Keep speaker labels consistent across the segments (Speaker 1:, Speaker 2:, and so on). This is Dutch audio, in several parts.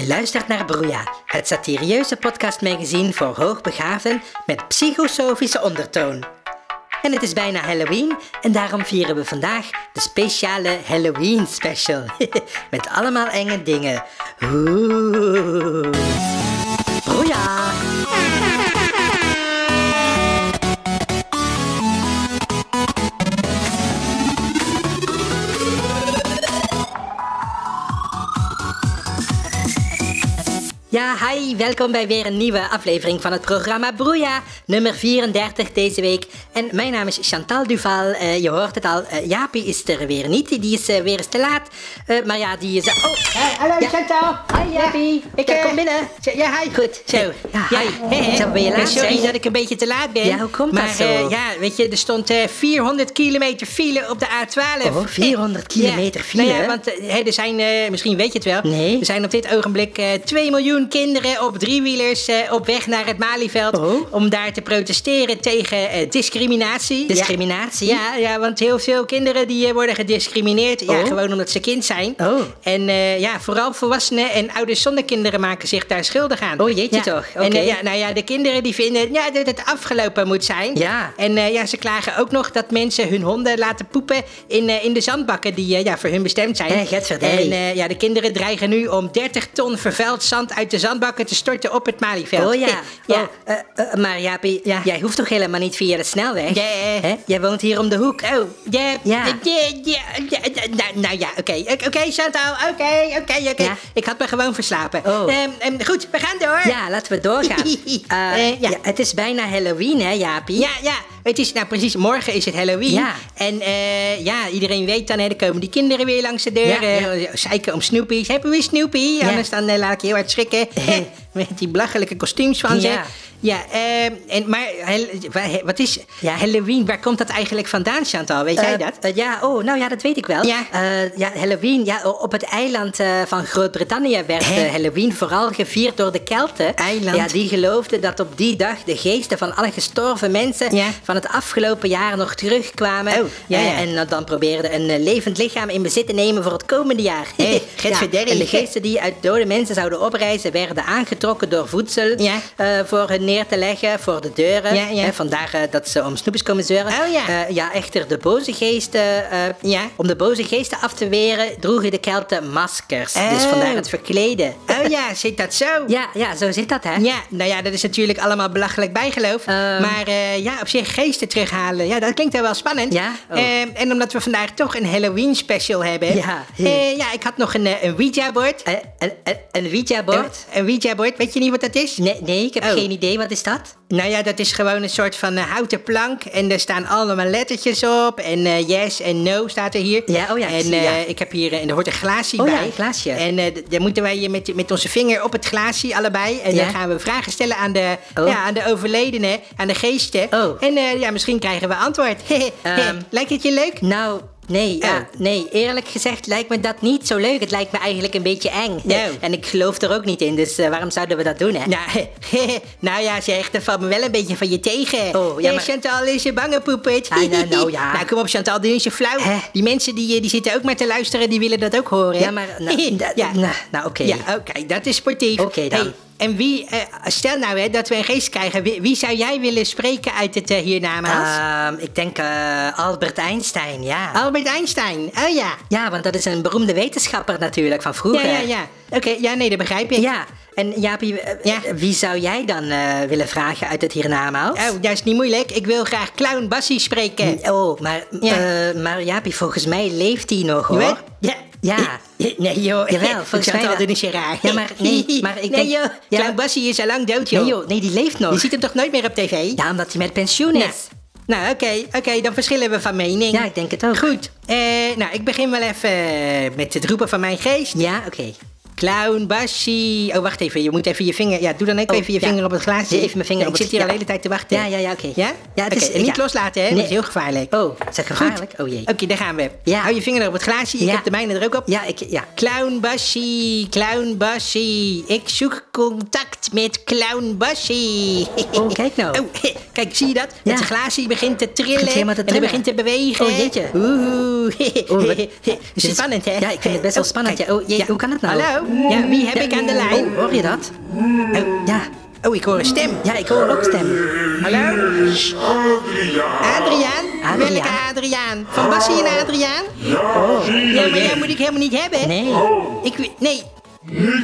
Speaker 1: Je luistert naar Broeia, het satirieuze podcastmagazine voor hoogbegaafden met psychosofische ondertoon. En het is bijna Halloween en daarom vieren we vandaag de speciale Halloween special. met allemaal enge dingen. Oeh. Broeia! Ja, hi, welkom bij weer een nieuwe aflevering van het programma Broeia, nummer 34 deze week. En mijn naam is Chantal Duval, Eh, je hoort het al, eh, Jaapie is er weer niet, die is eh, weer eens te laat. Eh, maar ja, die is... eh, Oh,
Speaker 2: Hey, hallo
Speaker 1: Ja.
Speaker 2: Chantal.
Speaker 1: hi Jaapie, ik
Speaker 2: eh,
Speaker 1: kom binnen.
Speaker 2: Z- Ja, hi.
Speaker 1: Goed, zo. Ja, hi.
Speaker 2: hè,
Speaker 1: Zo, ben je
Speaker 2: eh,
Speaker 1: laat
Speaker 2: Sorry
Speaker 1: zijn?
Speaker 2: dat ik een beetje te laat ben.
Speaker 1: Ja, hoe komt dat
Speaker 2: maar,
Speaker 1: zo?
Speaker 2: eh, ja, weet je, er stond eh, 400 kilometer file op de A12.
Speaker 1: Oh, 400
Speaker 2: Ja.
Speaker 1: kilometer file?
Speaker 2: Nou ja, want eh, hè, er zijn, eh, misschien weet je het wel,
Speaker 1: Nee.
Speaker 2: er zijn op dit ogenblik eh 2 miljoen kinderen op driewielers eh, op weg naar het Malieveld.
Speaker 1: Oh.
Speaker 2: Om daar te protesteren tegen eh, discriminatie.
Speaker 1: Discriminatie?
Speaker 2: Ja, ja, want heel veel kinderen die eh, worden gediscrimineerd. Ja,
Speaker 1: Oh.
Speaker 2: gewoon omdat ze kind zijn.
Speaker 1: Oh.
Speaker 2: En eh, ja, vooral volwassenen en ouders zonder kinderen maken zich daar schuldig aan.
Speaker 1: Oh, jeetje
Speaker 2: Ja.
Speaker 1: toch,
Speaker 2: En,
Speaker 1: oké.
Speaker 2: eh, ja, nou ja, de kinderen die vinden ja, dat het afgelopen moet zijn.
Speaker 1: Ja.
Speaker 2: En eh, ja, ze klagen ook nog dat mensen hun honden laten poepen in, eh, in de zandbakken die eh, ja, voor hun bestemd zijn.
Speaker 1: Eh, getverdij.
Speaker 2: En eh, ja, de kinderen dreigen nu om 30 ton vervuild zand uit de zandbakken te storten op het Malieveld.
Speaker 1: Oh ja,
Speaker 2: ja.
Speaker 1: Oh, eh, eh, maar Jaapie,
Speaker 2: Ja.
Speaker 1: jij hoeft toch helemaal niet via de snelweg?
Speaker 2: Ja.
Speaker 1: Hè? Jij woont hier om de hoek.
Speaker 2: Oh, ja,
Speaker 1: Ja.
Speaker 2: ja, ja, ja, ja, nou, nou ja, oké, oké, Chantal, oké, oké, oké.
Speaker 1: Ja.
Speaker 2: Ik had me gewoon verslapen.
Speaker 1: Oh.
Speaker 2: Ehm, ehm, goed, we gaan door.
Speaker 1: Ja, laten we doorgaan. Eh,
Speaker 2: Eh, ja.
Speaker 1: ja, het is bijna Halloween, hè, Jaapie?
Speaker 2: Ja, ja, het is nou precies, morgen is het Halloween.
Speaker 1: Ja.
Speaker 2: En eh, ja, iedereen weet dan, hè, er komen die kinderen weer langs de deur.
Speaker 1: Ja,
Speaker 2: eh, zeiken om Snoopy's. Hebben we Snoopy? Anders dan eh, laat ik je heel hard schrikken. Met die belachelijke kostuums van ze.
Speaker 1: Ja.
Speaker 2: Ja, ehm, en, maar hel- wa- he- wat is
Speaker 1: Ja.
Speaker 2: Halloween? Waar komt dat eigenlijk vandaan, Chantal? Weet jij
Speaker 1: Eh,
Speaker 2: dat?
Speaker 1: eh, ja, oh, nou ja, dat weet ik wel.
Speaker 2: Ja.
Speaker 1: Eh, ja Halloween, ja, o- op het eiland eh, van Groot-Brittannië werd
Speaker 2: Hè?
Speaker 1: eh, Halloween vooral gevierd door de Kelten.
Speaker 2: Eiland?
Speaker 1: Ja, die geloofden dat op die dag de geesten van alle gestorven mensen
Speaker 2: Ja.
Speaker 1: van het afgelopen jaar nog terugkwamen.
Speaker 2: Oh, ja,
Speaker 1: Eh,
Speaker 2: ja.
Speaker 1: en eh, dan probeerden een eh, levend lichaam in bezit te nemen voor het komende jaar.
Speaker 2: Hé, Getverderrie.
Speaker 1: en de geesten die uit dode mensen zouden oprijzen, werden aangetrokken door voedsel
Speaker 2: Ja.
Speaker 1: eh, voor hen neer te leggen, voor de deuren.
Speaker 2: Ja, ja.
Speaker 1: Hè, vandaar eh, dat ze om snoepjes komen zeuren.
Speaker 2: Oh, ja.
Speaker 1: Eh, eh, ja, echter, de boze geesten... eh,
Speaker 2: Ja.
Speaker 1: Om de boze geesten af te weren, droegen de Kelten eh, maskers.
Speaker 2: Oh.
Speaker 1: Dus vandaar het verkleden.
Speaker 2: Oh ja, zit dat zo?
Speaker 1: Ja, ja, zo zit dat, hè?
Speaker 2: Ja, nou ja, dat is natuurlijk allemaal belachelijk bijgeloof.
Speaker 1: Ehm.
Speaker 2: maar eh, ja, op zich geesten terughalen, ja, dat klinkt wel wel spannend.
Speaker 1: Ja? Oh.
Speaker 2: Ehm, en omdat we vandaag toch een Halloween special hebben.
Speaker 1: Ja.
Speaker 2: eh, ja ik had nog een, eh, een Ouija-bord.
Speaker 1: Eh, Een, een, een Ouija-bord?
Speaker 2: Een, een Ouija-bord, weet je niet wat dat is?
Speaker 1: Nee, nee, ik heb
Speaker 2: Oh.
Speaker 1: geen idee. Wat is dat?
Speaker 2: Nou ja, dat is gewoon een soort van eh, houten plank. En er staan allemaal lettertjes op. En eh, yes en no staat er hier.
Speaker 1: Ja, oh ja, ik
Speaker 2: En
Speaker 1: zie,
Speaker 2: eh,
Speaker 1: ja.
Speaker 2: ik heb hier, eh, en er hoort een glaasje
Speaker 1: Oh ja,
Speaker 2: bij.
Speaker 1: een glaasje.
Speaker 2: En eh, d- dan moeten wij hier met, met onze vinger op het glaasje allebei. En
Speaker 1: Ja.
Speaker 2: dan gaan we vragen stellen aan de,
Speaker 1: Oh.
Speaker 2: ja, aan de overledene, aan de geesten.
Speaker 1: Oh.
Speaker 2: En eh, ja, misschien krijgen we antwoord.
Speaker 1: Ehm.
Speaker 2: Lijkt het je leuk?
Speaker 1: Nou, nee, ja,
Speaker 2: Oh.
Speaker 1: nee. Eerlijk gezegd lijkt me dat niet zo leuk. Het lijkt me eigenlijk een beetje eng.
Speaker 2: Nou.
Speaker 1: En ik geloof er ook niet in, dus eh, waarom zouden we dat doen, hè?
Speaker 2: Nou, nou ja, zeg, dat valt me wel een beetje van je tegen.
Speaker 1: Oh, ja,
Speaker 2: Eh,
Speaker 1: maar-
Speaker 2: Chantal is je bange poepert.
Speaker 1: Ah, nou, nou, ja.
Speaker 2: Nou, kom op, Chantal, doe eens je flauw.
Speaker 1: Hè?
Speaker 2: Die mensen die, eh, die zitten ook maar te luisteren, die willen dat ook horen. hè?
Speaker 1: Ja, maar, nou, da-
Speaker 2: ja.
Speaker 1: nou, nou, oké.
Speaker 2: Ja, oké, dat is sportief.
Speaker 1: Oké, dan.
Speaker 2: en wie, eh, stel nou hè, dat we een geest krijgen, wie, wie zou jij willen spreken uit het eh, hiernamaals?
Speaker 1: Ehm, ik denk eh, Albert Einstein, ja.
Speaker 2: Albert Einstein, oh ja.
Speaker 1: Ja, want dat is een beroemde wetenschapper natuurlijk van
Speaker 2: Ja,
Speaker 1: vroeger.
Speaker 2: ja, ja. Oké, ja, nee, dat begrijp ik.
Speaker 1: Ja, en Jaapie, eh,
Speaker 2: Ja.
Speaker 1: eh, wie zou jij dan eh, willen vragen uit het hiernamaals?
Speaker 2: Oh, dat is niet moeilijk. Ik wil graag Clown Bassie spreken.
Speaker 1: Oh, maar,
Speaker 2: Ja.
Speaker 1: eh, maar Jaapie, volgens mij leeft hij nog, hoor.
Speaker 2: Wat? Ja.
Speaker 1: Ja.
Speaker 2: Nee joh.
Speaker 1: Jawel,
Speaker 2: Ik
Speaker 1: volgens
Speaker 2: zat
Speaker 1: mij
Speaker 2: al,
Speaker 1: wel.
Speaker 2: dit is je raar.
Speaker 1: Ja, maar- nee, maar ik
Speaker 2: Nee
Speaker 1: denk-
Speaker 2: joh,
Speaker 1: ja.
Speaker 2: Clown Bassie is al lang dood joh.
Speaker 1: Nee, joh, nee, die leeft nog.
Speaker 2: Je ziet hem toch nooit meer op tv?
Speaker 1: Ja, omdat hij met pensioen
Speaker 2: Nou,
Speaker 1: is.
Speaker 2: nou oké, oké, dan verschillen we van mening.
Speaker 1: Ja, ik denk het ook.
Speaker 2: Goed, eh, nou ik begin wel even eh, met het roepen van mijn geest.
Speaker 1: Ja, oké.
Speaker 2: Clown Bassie. Oh, wacht even, je moet even je vinger... Ja, doe dan ook
Speaker 1: Oh,
Speaker 2: even je
Speaker 1: ja.
Speaker 2: vinger op het glaasje.
Speaker 1: Even mijn vinger
Speaker 2: Ja,
Speaker 1: op het-
Speaker 2: Ik zit hier al
Speaker 1: ja.
Speaker 2: de hele tijd te wachten.
Speaker 1: Ja, ja, ja, oké.
Speaker 2: Ja?
Speaker 1: Ja, het is...
Speaker 2: Oké, en niet
Speaker 1: ja.
Speaker 2: loslaten, hè?
Speaker 1: Nee.
Speaker 2: Dat is heel gevaarlijk.
Speaker 1: Oh, is dat gevaarlijk?
Speaker 2: Goed.
Speaker 1: Oh jee.
Speaker 2: Oké, daar gaan we.
Speaker 1: Ja.
Speaker 2: Hou je vinger op het glaasje. Ik
Speaker 1: Ja.
Speaker 2: heb de mijne er ook op.
Speaker 1: Ja, ik... Ja.
Speaker 2: Clown Bassie, Clown Bassie. Ik zoek contact met Clown Bassie.
Speaker 1: Oh, kijk nou.
Speaker 2: Oh, kijk, zie je dat?
Speaker 1: Ja.
Speaker 2: Het glaasje begint te trillen.
Speaker 1: Begint helemaal te
Speaker 2: En
Speaker 1: trillen.
Speaker 2: het begint te bewegen.
Speaker 1: Oh, jeetje.
Speaker 2: Oeh.
Speaker 1: Oh, wat-
Speaker 2: Het
Speaker 1: dit
Speaker 2: is
Speaker 1: is-
Speaker 2: spannend, hè?
Speaker 1: dus- Ja, ik vind het best wel spannend,
Speaker 2: kijk.
Speaker 1: ja. Oh, jee, hoe kan dat nou?
Speaker 2: Hallo? Ja, wie heb ik aan de lijn?
Speaker 1: Oh, hoor je dat? Oh, ja.
Speaker 2: Oh, ik hoor een stem.
Speaker 1: Ja, ik hoor ook stemmen.
Speaker 2: Hallo?
Speaker 3: is Adriaan.
Speaker 2: Adriaan?
Speaker 1: Adriaan. Oh.
Speaker 2: Welke Adriaan? Van Bassie en Adriaan?
Speaker 3: Ja, zie
Speaker 2: Ja, maar
Speaker 3: je.
Speaker 2: jou moet ik helemaal niet hebben.
Speaker 1: Nee.
Speaker 2: Ik, weet- nee.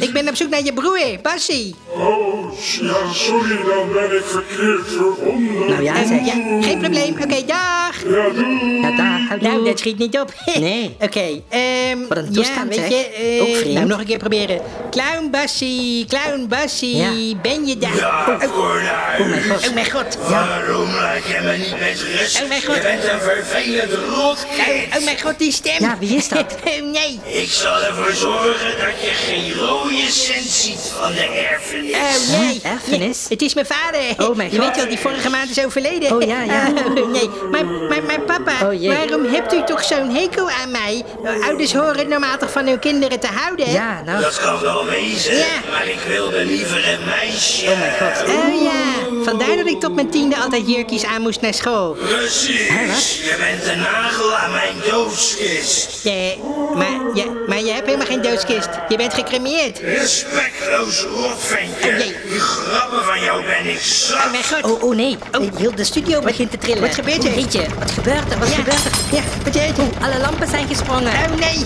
Speaker 2: Ik ben op zoek naar je broer, Bassie.
Speaker 3: Oh, ja, sorry, dan ben ik verkeerd verbonden.
Speaker 1: Nou ja, zeg.
Speaker 2: Ja, geen probleem. Oké, dag.
Speaker 3: Ja, doei.
Speaker 1: Ja, daar.
Speaker 2: Mm. Nou, dat schiet niet op.
Speaker 1: Nee.
Speaker 2: Oké, ehm...
Speaker 1: Wat een toestand,
Speaker 2: ja, weet
Speaker 1: zeg.
Speaker 2: je, eh,
Speaker 1: Ook vreemd.
Speaker 2: Nou, nog een keer proberen. Clown Bassie, Clown Bassie,
Speaker 1: Ja.
Speaker 2: ben je daar? Oh,
Speaker 1: Oh mijn god.
Speaker 2: oh mijn god.
Speaker 4: Waarom laat je me niet met rust?
Speaker 2: Oh, mijn God.
Speaker 4: Je bent een vervelend rotkind.
Speaker 2: Oh mijn god, die stem. Oh,
Speaker 1: Ja, wie is dat?
Speaker 2: nee.
Speaker 4: Ik zal ervoor zorgen dat je geen rode cent ziet van de erfenis.
Speaker 2: Oh, nee.
Speaker 1: Hè? Erfenis?
Speaker 2: Nee, het is mijn vader.
Speaker 1: Oh, mijn
Speaker 2: Je
Speaker 1: God.
Speaker 2: weet wel, die vorige maand is overleden.
Speaker 1: Oh, ja, ja.
Speaker 2: Oh, nee, maar, maar, maar papa,
Speaker 1: Oh, jee.
Speaker 2: waarom hebt u toch zo'n hekel aan mij? Ouders horen normaal toch van hun kinderen te houden?
Speaker 1: Ja, nou.
Speaker 4: Dat kan wel wezen,
Speaker 2: Ja.
Speaker 4: maar ik wilde liever een meisje.
Speaker 1: Oh mijn god.
Speaker 2: Oh ja, vandaar dat ik tot mijn tiende altijd jurkjes aan moest naar school.
Speaker 4: Precies, je bent een nagel aan mijn doodskist.
Speaker 2: Ja, maar, ja, maar je hebt helemaal geen doodskist. Je bent gecremeerd.
Speaker 4: Respectloos
Speaker 2: Oh,
Speaker 4: rotventje.
Speaker 2: jee.
Speaker 4: Die grappen van jou ben ik
Speaker 2: Oh
Speaker 4: zat.
Speaker 2: mijn god.
Speaker 1: Oh, oh nee. Heel de studio begint te trillen.
Speaker 2: wat gebeurt er?
Speaker 1: Oh, jeetje, wat gebeurt er? Wat
Speaker 2: ja.
Speaker 1: gebeurt er?
Speaker 2: Ja, wat heet het?
Speaker 1: Alle lampen zijn gesprongen.
Speaker 2: Oh nee.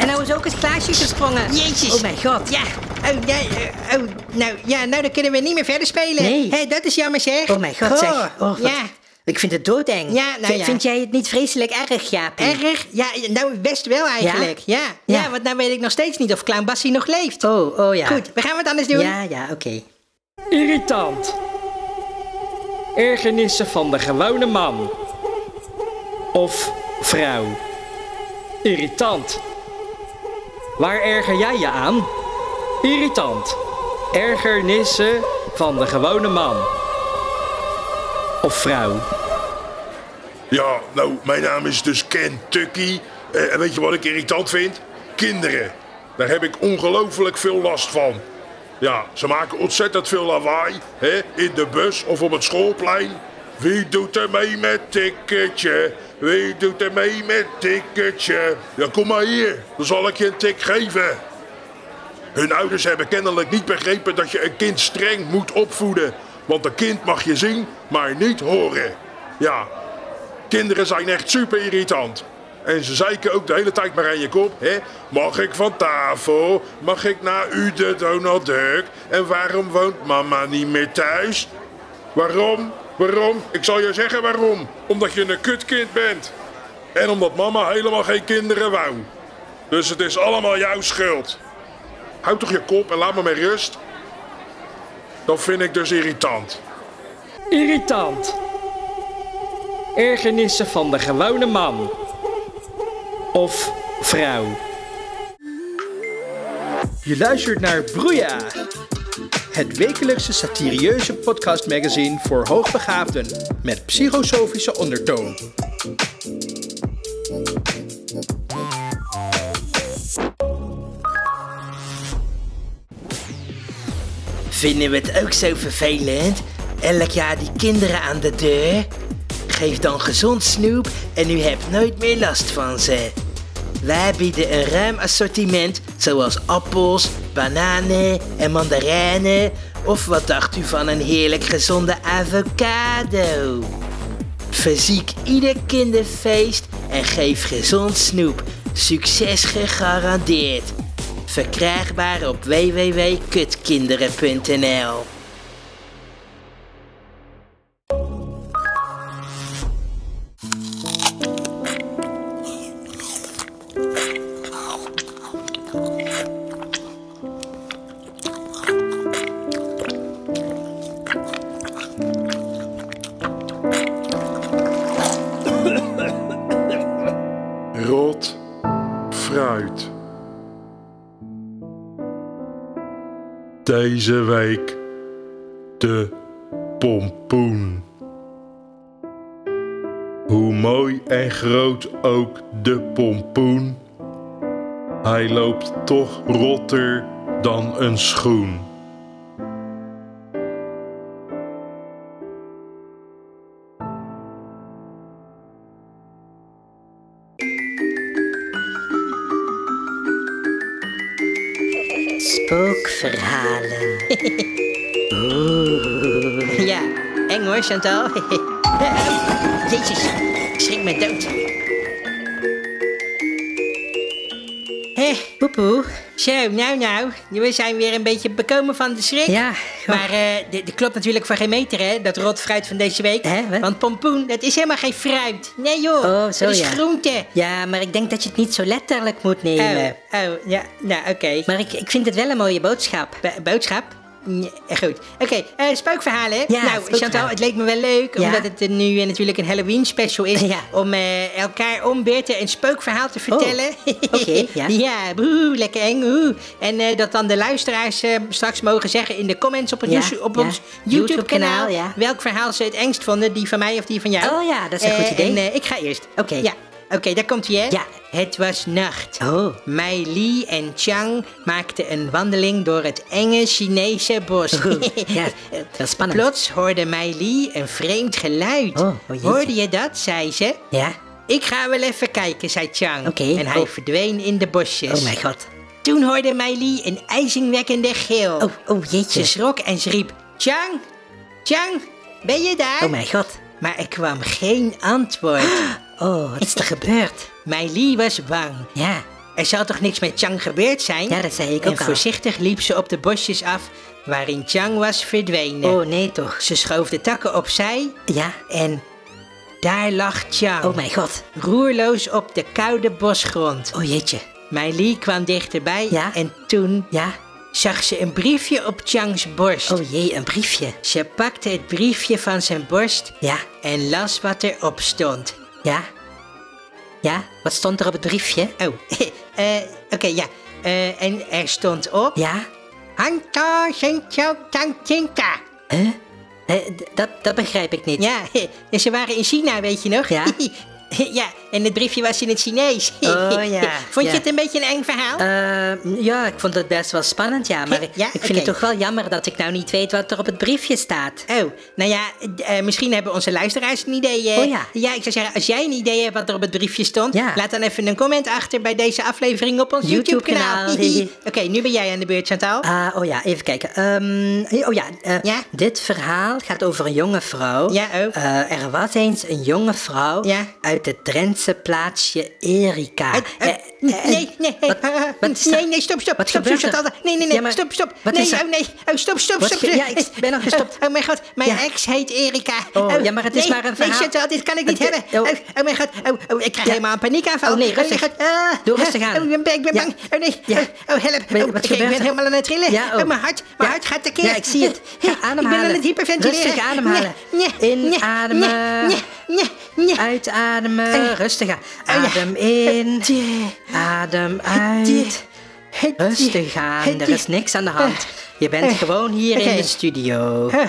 Speaker 1: En nou is ook het glaasje gesprongen.
Speaker 2: Jezus.
Speaker 1: Oh mijn god.
Speaker 2: Ja. Oh, nee, eh, oh, nou, ja, nou, dan kunnen we niet meer verder spelen.
Speaker 1: Nee.
Speaker 2: Hé, dat is jammer, zeg.
Speaker 1: Oh mijn god,
Speaker 2: Goh,
Speaker 1: zeg. Oh, wat-
Speaker 2: Ja,
Speaker 1: Ik vind het doodeng.
Speaker 2: Ja, nou
Speaker 1: V-
Speaker 2: ja.
Speaker 1: Vind jij het niet vreselijk erg, Jaapie?
Speaker 2: erg. Ja, nou, best wel eigenlijk. Ja? Ja.
Speaker 1: Ja.
Speaker 2: want nou weet ik nog steeds niet of Clown Bassie nog leeft.
Speaker 1: Oh, oh ja.
Speaker 2: Goed, we gaan wat anders doen.
Speaker 1: Ja, ja, oké.
Speaker 5: Irritant. Ergernissen van de gewone man. Of vrouw. Irritant. Waar erger jij je aan? Irritant. Ergernissen van de gewone man. Of vrouw.
Speaker 3: Ja, nou, mijn naam is dus Ken Tucky. Eh, en weet je wat ik irritant vind? Kinderen. Daar heb ik ongelooflijk veel last van. Ja, ze maken ontzettend veel lawaai, hè, in de bus of op het schoolplein. Wie doet er mee met tikketje? Wie doet er mee met tikketje? Ja, kom maar hier, dan zal ik je een tik geven. Hun ouders hebben kennelijk niet begrepen dat je een kind streng moet opvoeden. Want een kind mag je zien, maar niet horen. Ja, Kinderen zijn echt super irritant. En ze zeiken ook de hele tijd maar aan je kop. Hè? Mag ik van tafel? Mag ik naar u de Donald Duck? En waarom woont mama niet meer thuis? Waarom? Waarom? Ik zal je zeggen waarom. Omdat je een kutkind bent. En omdat mama helemaal geen kinderen wou. Dus het is allemaal jouw schuld. Houd toch je kop en laat me met rust. Dat vind ik dus irritant.
Speaker 5: Irritant. Ergernissen van de gewone man. Of vrouw.
Speaker 6: Je luistert naar Broeia, het wekelijkse satirieuze podcastmagazine voor hoogbegaafden met psychosofische ondertoon.
Speaker 7: Vinden we het ook zo vervelend? Elk jaar die kinderen aan de deur? Geef dan gezond snoep en u hebt nooit meer last van ze. Wij bieden een ruim assortiment zoals appels, bananen en mandarijnen. Of wat dacht u van een heerlijk gezonde avocado? Verziek ieder kinderfeest en geef gezond snoep. Succes gegarandeerd. Verkrijgbaar op www.kutkinderen.nl
Speaker 3: Rot fruit. Deze week de pompoen. Hoe mooi en groot ook de pompoen, hij loopt toch rotter dan een schoen.
Speaker 1: Spookverhalen.
Speaker 2: Ja, eng hoor, Chantal. Jezus, ik schrik me dood. Hé, poepoe. Zo, nou nou, we zijn weer een beetje bekomen van de schrik.
Speaker 1: Ja, gewoon-
Speaker 2: Maar eh, dit dit klopt natuurlijk voor geen meter, hè, dat rotfruit van deze week.
Speaker 1: Hè, wat?
Speaker 2: Want pompoen, dat is helemaal geen fruit. Nee joh,
Speaker 1: Oh, zo,
Speaker 2: dat is
Speaker 1: ja.
Speaker 2: groente.
Speaker 1: Ja, maar ik denk dat je het niet zo letterlijk moet
Speaker 2: Oh,
Speaker 1: nemen.
Speaker 2: oh, ja, nou oké.
Speaker 1: Maar ik, ik vind het wel een mooie boodschap.
Speaker 2: Bo- boodschap? Nee, goed. Oké, eh, spookverhalen.
Speaker 1: Ja,
Speaker 2: nou,
Speaker 1: spookverhalen.
Speaker 2: Chantal, het leek me wel leuk,
Speaker 1: Ja.
Speaker 2: omdat het eh, nu eh, natuurlijk een Halloween special is,
Speaker 1: Ja. Oh,
Speaker 2: om eh, elkaar om beurten een spookverhaal te vertellen.
Speaker 1: oké, ja.
Speaker 2: boe, lekker eng. oeh. En eh, dat dan de luisteraars eh, straks mogen zeggen in de comments op, het
Speaker 1: Ja,
Speaker 2: YouTube- op
Speaker 1: ja.
Speaker 2: ons YouTube-kanaal
Speaker 1: YouTube-kanaal, ja.
Speaker 2: welk verhaal ze het engst vonden, die van mij of die van jou.
Speaker 1: Oh ja, dat is een
Speaker 2: Eh,
Speaker 1: goed idee.
Speaker 2: En eh, ik ga eerst.
Speaker 1: Oké.
Speaker 2: Ja. Oké, daar komt hij, hè?
Speaker 1: Ja.
Speaker 2: Het was nacht.
Speaker 1: Oh.
Speaker 2: Mei Li en Chang maakten een wandeling door het enge Chinese bos.
Speaker 1: ja, wel spannend.
Speaker 2: Plots hoorde Mei Li een vreemd geluid.
Speaker 1: Oh, oh jeetje.
Speaker 2: hoorde je dat, zei ze.
Speaker 1: Ja?
Speaker 2: Ik ga wel even kijken, zei Chang.
Speaker 1: Oké.
Speaker 2: En hij
Speaker 1: Oh.
Speaker 2: verdween in de bosjes.
Speaker 1: Oh mijn god.
Speaker 2: Toen hoorde Mei Li een ijzingwekkende geel.
Speaker 1: Oh, oh
Speaker 2: Ze
Speaker 1: jeetje.
Speaker 2: schrok en ze riep, Chang, Chang, ben je daar?
Speaker 1: Oh mijn god.
Speaker 2: Maar er kwam geen antwoord.
Speaker 1: Oh, wat is er gebeurd?
Speaker 2: Mei Li was bang.
Speaker 1: Ja.
Speaker 2: Er zal toch niks met Chang gebeurd zijn?
Speaker 1: Ja, dat zei ik
Speaker 2: en
Speaker 1: ook al.
Speaker 2: voorzichtig liep ze op de bosjes af waarin Chang was verdwenen.
Speaker 1: Oh nee toch.
Speaker 2: Ze schoof de takken opzij
Speaker 1: Ja?
Speaker 2: en daar lag Chang.
Speaker 1: Oh mijn god.
Speaker 2: Roerloos op de koude bosgrond.
Speaker 1: Oh jeetje.
Speaker 2: Mei Li kwam dichterbij
Speaker 1: Ja?
Speaker 2: en toen
Speaker 1: Ja?
Speaker 2: zag ze een briefje op Changs borst.
Speaker 1: Oh jee, een briefje.
Speaker 2: Ze pakte het briefje van zijn borst
Speaker 1: Ja?
Speaker 2: en las wat erop stond.
Speaker 1: Ja? Ja? Wat stond er op het briefje?
Speaker 2: Oh, eh, oké, ja. Eh, en er stond op...
Speaker 1: Ja?
Speaker 2: Hanka Shentyo Tangchinka.
Speaker 1: Huh? Eh, d- dat, dat begrijp ik niet.
Speaker 2: Ja, en ze waren in China, weet je nog?
Speaker 1: Ja.
Speaker 2: Ja, en het briefje was in het Chinees.
Speaker 1: Oh, ja,
Speaker 2: Vond je
Speaker 1: ja.
Speaker 2: het een beetje een eng verhaal?
Speaker 1: Eh, ja, ik vond het best wel spannend, ja. Maar
Speaker 2: Hè?
Speaker 1: ik,
Speaker 2: Ja?
Speaker 1: ik vind
Speaker 2: Oké.
Speaker 1: het toch wel jammer dat ik nou niet weet wat er op het briefje staat.
Speaker 2: Oh, nou ja, d- eh, misschien hebben onze luisteraars een idee. eh.
Speaker 1: Oh, ja.
Speaker 2: ik zou zeggen, als jij een idee hebt wat er op het briefje stond,
Speaker 1: Ja.
Speaker 2: laat dan even een comment achter bij deze aflevering op ons
Speaker 1: YouTube-kanaal.
Speaker 2: YouTube-kanaal. Oké, nu ben jij aan de beurt, Chantal.
Speaker 1: Ah, oh ja, even kijken. Ehm, oh ja, eh,
Speaker 2: Ja?
Speaker 1: dit verhaal gaat over een jonge vrouw.
Speaker 2: Ja, oh.
Speaker 1: Eh, er was eens een jonge vrouw
Speaker 2: Ja.
Speaker 1: uit het Drentse plaatsje Erika.
Speaker 2: Eh, eh,
Speaker 1: Eh, eh,
Speaker 2: nee, nee,
Speaker 1: wat- wat is er?
Speaker 2: nee, nee, stop, stop,
Speaker 1: Wat
Speaker 2: stop, stop,
Speaker 1: gebeurt er?
Speaker 2: Chantal. Nee, nee, nee,
Speaker 1: Ja, maar
Speaker 2: stop, stop.
Speaker 1: wat
Speaker 2: nee,
Speaker 1: is er?
Speaker 2: oh nee, oh stop, stop,
Speaker 1: Wat
Speaker 2: stop.
Speaker 1: ge- ja, ik ben nog gestopt.
Speaker 2: Oh mijn god, mijn
Speaker 1: Ja.
Speaker 2: ex heet Erika.
Speaker 1: Oh, ja, maar het is
Speaker 2: nee,
Speaker 1: maar een verhaal.
Speaker 2: Nee, Chantal, dit kan ik niet
Speaker 1: Het-
Speaker 2: hebben.
Speaker 1: oh.
Speaker 2: Oh, oh mijn god, oh, oh, ik krijg
Speaker 1: Ja.
Speaker 2: helemaal een paniekaanval.
Speaker 1: Oh, nee,
Speaker 2: mijn
Speaker 1: rustig.
Speaker 2: god, ah,
Speaker 1: Doe rustig
Speaker 2: ah,
Speaker 1: aan.
Speaker 2: Oh, ik ben, ik ben
Speaker 1: Ja.
Speaker 2: bang. Oh nee,
Speaker 1: Ja.
Speaker 2: oh, oh, help.
Speaker 1: Wat-
Speaker 2: Oh,
Speaker 1: wat gebeurt
Speaker 2: ik- Ik
Speaker 1: er?
Speaker 2: ben helemaal aan het trillen.
Speaker 1: Ja, oh.
Speaker 2: mijn hart,
Speaker 1: Ja.
Speaker 2: mijn hart gaat tekeer.
Speaker 1: Ja, ik zie het. Ga
Speaker 2: Ik ben
Speaker 1: ademhalen.
Speaker 2: aan het hyperventileren.
Speaker 1: Rustig ademhalen.
Speaker 2: Nee, nee, nee,
Speaker 1: Inademen.
Speaker 2: nee, nee, nee, nee.
Speaker 1: Uitademen,
Speaker 2: Eh.
Speaker 1: rustig aan.
Speaker 2: Oh, ja.
Speaker 1: Adem in, adem uit. Rustig aan, er is niks aan de hand. Je bent
Speaker 2: Eh.
Speaker 1: gewoon hier
Speaker 2: Oké.
Speaker 1: in de studio.
Speaker 2: Huh.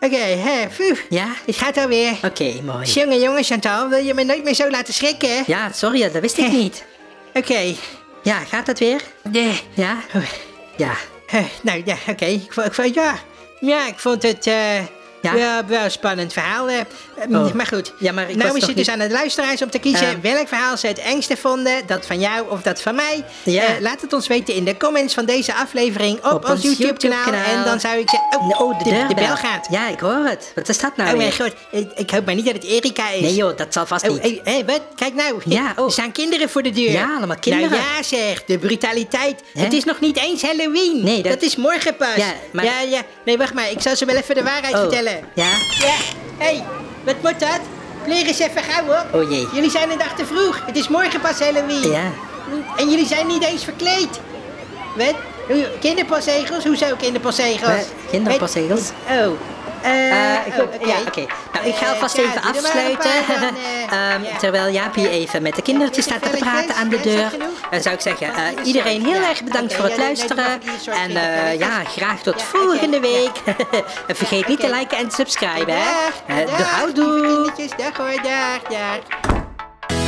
Speaker 2: Oké, hè, phew.
Speaker 1: Ja?
Speaker 2: Het gaat alweer.
Speaker 1: Oké, mooi.
Speaker 2: Jongen, jongen, Chantal, wil je me nooit meer zo laten schrikken? hè?
Speaker 1: Ja, sorry, dat wist
Speaker 2: Eh.
Speaker 1: ik niet.
Speaker 2: Oké.
Speaker 1: Ja, gaat het weer?
Speaker 2: Nee.
Speaker 1: Ja? Ja.
Speaker 2: Eh, nou ja, oké. Ik, vo- ik vond, ja. ja, ik vond het eh,
Speaker 1: Ja?
Speaker 2: wel, wel een spannend verhaal. eh. Eh,
Speaker 1: Oh.
Speaker 2: Maar goed,
Speaker 1: Ja, maar ik
Speaker 2: nou
Speaker 1: was
Speaker 2: is
Speaker 1: toch
Speaker 2: het dus
Speaker 1: niet-
Speaker 2: aan de luisteraars om te kiezen
Speaker 1: Eh.
Speaker 2: welk verhaal ze het engste vonden. Dat van jou of dat van mij.
Speaker 1: Ja.
Speaker 2: Eh, laat het ons weten in de comments van deze aflevering op, ons, YouTube-kanaal.
Speaker 1: YouTube-kanaal.
Speaker 2: en dan zou ik zeggen... Oh,
Speaker 1: Oh, de, deurbel.
Speaker 2: bel gaat.
Speaker 1: Ja, ik hoor het. Wat is dat nou
Speaker 2: Oh mijn
Speaker 1: weer?
Speaker 2: god, eh, ik hoop maar niet dat het Erika is.
Speaker 1: Nee joh, dat zal vast
Speaker 2: Oh,
Speaker 1: niet.
Speaker 2: hé, hé, wat? Kijk nou.
Speaker 1: Ja, oh.
Speaker 2: Er staan kinderen voor de deur.
Speaker 1: Ja, allemaal kinderen.
Speaker 2: Nou ja, zeg. De brutaliteit.
Speaker 1: Hè?
Speaker 2: Het is nog niet eens Halloween.
Speaker 1: Nee, dat-
Speaker 2: is morgen pas.
Speaker 1: Ja, maar-
Speaker 2: ja, ja. Nee, wacht maar. Ik zal ze wel even de waarheid
Speaker 1: Oh.
Speaker 2: vertellen.
Speaker 1: Ja?
Speaker 2: Ja. Hé, hey, wat moet dat? Pleer eens even gauw, hoor.
Speaker 1: Oh, jee.
Speaker 2: Jullie zijn een dag te vroeg. Het is morgen pas Halloween.
Speaker 1: Ja.
Speaker 2: En jullie zijn niet eens verkleed. Wat? Hoe- Kinderpostzegels? Hoezo kinderpostzegels?
Speaker 1: Wat? Kinderpostzegels?
Speaker 2: Wat? Oh. Eh,
Speaker 1: Eh,
Speaker 2: oh,
Speaker 1: goed, ja, oké. Nou, ik ga
Speaker 2: Eh,
Speaker 1: alvast
Speaker 2: ja,
Speaker 1: even
Speaker 2: doe er maar een
Speaker 1: afsluiten.
Speaker 2: paar dan, eh,
Speaker 1: Ehm,
Speaker 2: ja.
Speaker 1: Terwijl Jaapie even met de kindertjes
Speaker 2: Is er
Speaker 1: staat te
Speaker 2: velletjes?
Speaker 1: praten aan de
Speaker 2: Ja, is dat
Speaker 1: deur.
Speaker 2: eh, genoeg?
Speaker 1: Dan zou ik zeggen, eh,
Speaker 2: Ja,
Speaker 1: iedereen heel
Speaker 2: ja.
Speaker 1: erg bedankt
Speaker 2: Oké,
Speaker 1: voor het
Speaker 2: ja, nee, nee,
Speaker 1: luisteren.
Speaker 2: doe maar die soort
Speaker 1: En eh,
Speaker 2: kindervelletjes.
Speaker 1: ja, graag tot
Speaker 2: Ja, oké,
Speaker 1: volgende
Speaker 2: ja.
Speaker 1: week. En vergeet niet te
Speaker 2: oké.
Speaker 1: liken en te subscriben, hè. Eh, De
Speaker 2: Dag, dag,
Speaker 1: houdoe.
Speaker 2: lieve kindertjes. Dag hoor, dag, dag.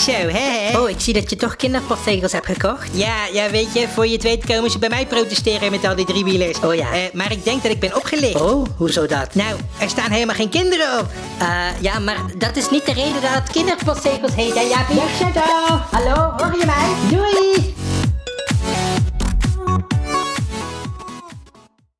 Speaker 2: Zo, hè? hè?
Speaker 1: Oh, ik zie zie dat je toch kinderpostzegels hebt gekocht.
Speaker 2: Ja, ja, weet je, voor je het weet komen ze bij mij protesteren met al die driewielers.
Speaker 1: Oh ja.
Speaker 2: Eh, maar ik denk dat ik ben opgelicht.
Speaker 1: Oh, hoezo dat?
Speaker 2: Nou, er staan helemaal geen kinderen op.
Speaker 1: Eh, ja, maar dat is niet de reden dat het kinderpostzegels heet, hè, Jaapie? Hallo, hoor je mij? Doei!